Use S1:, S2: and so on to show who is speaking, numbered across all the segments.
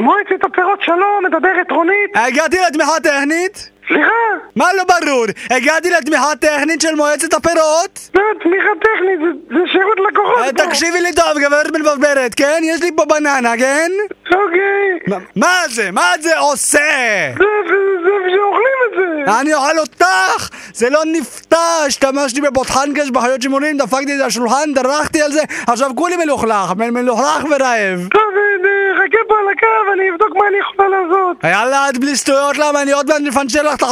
S1: מועצת הפירות שלום, מדברת רונית.
S2: הגעתי לתמיכה טכנית?
S1: סליחה,
S2: מה לא ברור? הגעתי לתמיכה טכנית של מועצת הפירות?
S1: לא, תמיכה טכנית, זה- זה שירות לקוחות.
S2: אה, תקשיבי לי טוב, גברת מבלבלת, כן? יש לי פה בננה, כן?
S1: אוקיי.
S2: מה- מה זה? מה זה עושה?
S1: זה, זה, זה, שאוכלים את זה.
S2: אני אוכל אותך! זה לא נפתח! השתמשתי בבוטחנקש בחיות שימורים, דפקתי את השולחן, דרכתי על זה, עכשיו כולי מלוכלך, מ- מלוכלך ורעב.
S1: טוב, אה, אה, חכה פה על הקו, אני אבדוק מה אני יכולה לעשות.
S2: יאללה, את בלי שטויות, למה אני עוד מעט מפנצ'ר לך את ה...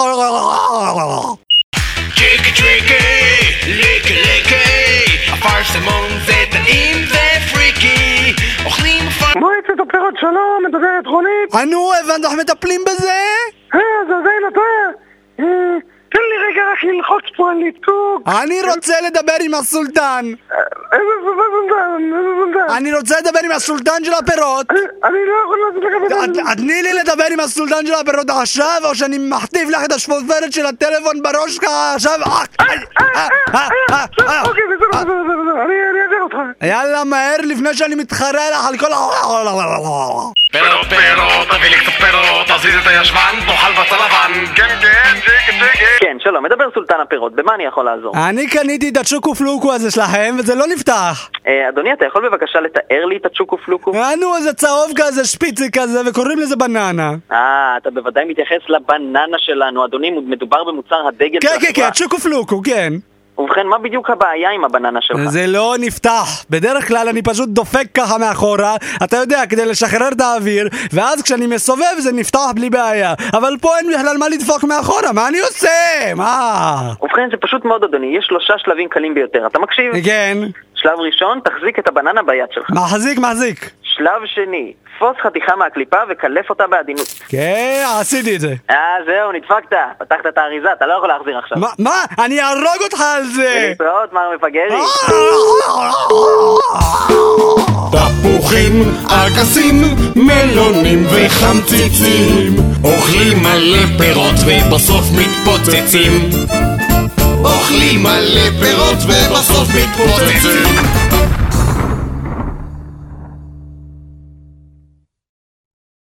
S3: טריקי טריקי, ליקי ליקי, אפרסמון זה טעים זה פריקי, אוכלים אפרסמון
S1: מועצת הפירות שלום, מדברת רונית.
S2: נו, הבנת, אנחנו מטפלים בזה?
S1: אה, זה עדיין אתה? אה, תן לי רגע רק ללחוץ פה על ניתוק.
S2: אני רוצה לדבר עם הסולטן.
S1: אה, איזה סולטן, איזה סולטן.
S2: אני רוצה לדבר עם הסולטן של הפירות.
S1: אה, אני לא יכול לעשות לך
S2: את-
S1: בזה.
S2: את תני לי לדבר עם הסולטן של הפירות עכשיו, או שאני מחטיף לך את השפופרת של הטלפון בראש ככה עכשיו. אה, אה, אה, אה, אה.
S1: אוקיי, בסדר, בסדר, בסדר, אני אני אעזר אותך.
S2: יאללה, מהר לפני שאני מתחרה לך על כל ה...
S3: פירות פירות, תביא לי קצת פירות, תזיז את הישבן, תאכל בצל לבן, כן כן, טריקי טריקי
S4: כן, שלום, מדבר סולטן הפירות, במה אני יכול לעזור?
S2: אני קניתי את הצ'וקו פלוקו הזה שלכם, וזה לא נפתח.
S4: אה, אדוני, אתה יכול בבקשה לתאר לי את הצ'וקו פלוקו?
S2: נו, איזה צהוב כזה, שפיצי כזה, וקוראים לזה בננה.
S4: אה, אתה בוודאי מתייחס לבננה שלנו, אדוני, מדובר במוצר הדגל של
S2: כן, כן, כן,
S4: החברה.
S2: הצ'וקו פלוקו, כן.
S4: ובכן, מה בדיוק הבעיה עם הבננה שלך?
S2: זה לא נפתח. בדרך כלל אני פשוט דופק ככה מאחורה, אתה יודע, כדי לשחרר את האוויר, ואז כשאני מסובב זה נפתח בלי בעיה. אבל פה אין בכלל מה לדפוק מאחורה, מה אני עושה? מה?
S4: ובכן, זה פשוט מאוד, אדוני, יש שלושה שלבים קלים ביותר, אתה מקשיב?
S2: כן,
S4: שלב ראשון, תחזיק את הבננה ביד שלך.
S2: מחזיק, מחזיק.
S4: שלב שני, תפוס חתיכה מהקליפה וקלף אותה בעדינות.
S2: כן, עשיתי את זה.
S4: אה, זהו, נדפקת. פתחת את האריזה, אתה לא יכול להחזיר עכשיו.
S2: מה? מה? אני אהרוג אותך על זה!
S4: להתראות, מר מפגרי.
S2: אה!
S5: תפוחים, אגסים, מלונים וחמציצים אוכלים מלא פירות ובסוף מתפוצצים אוכלים מלא פירות ובסוף מתפוצצים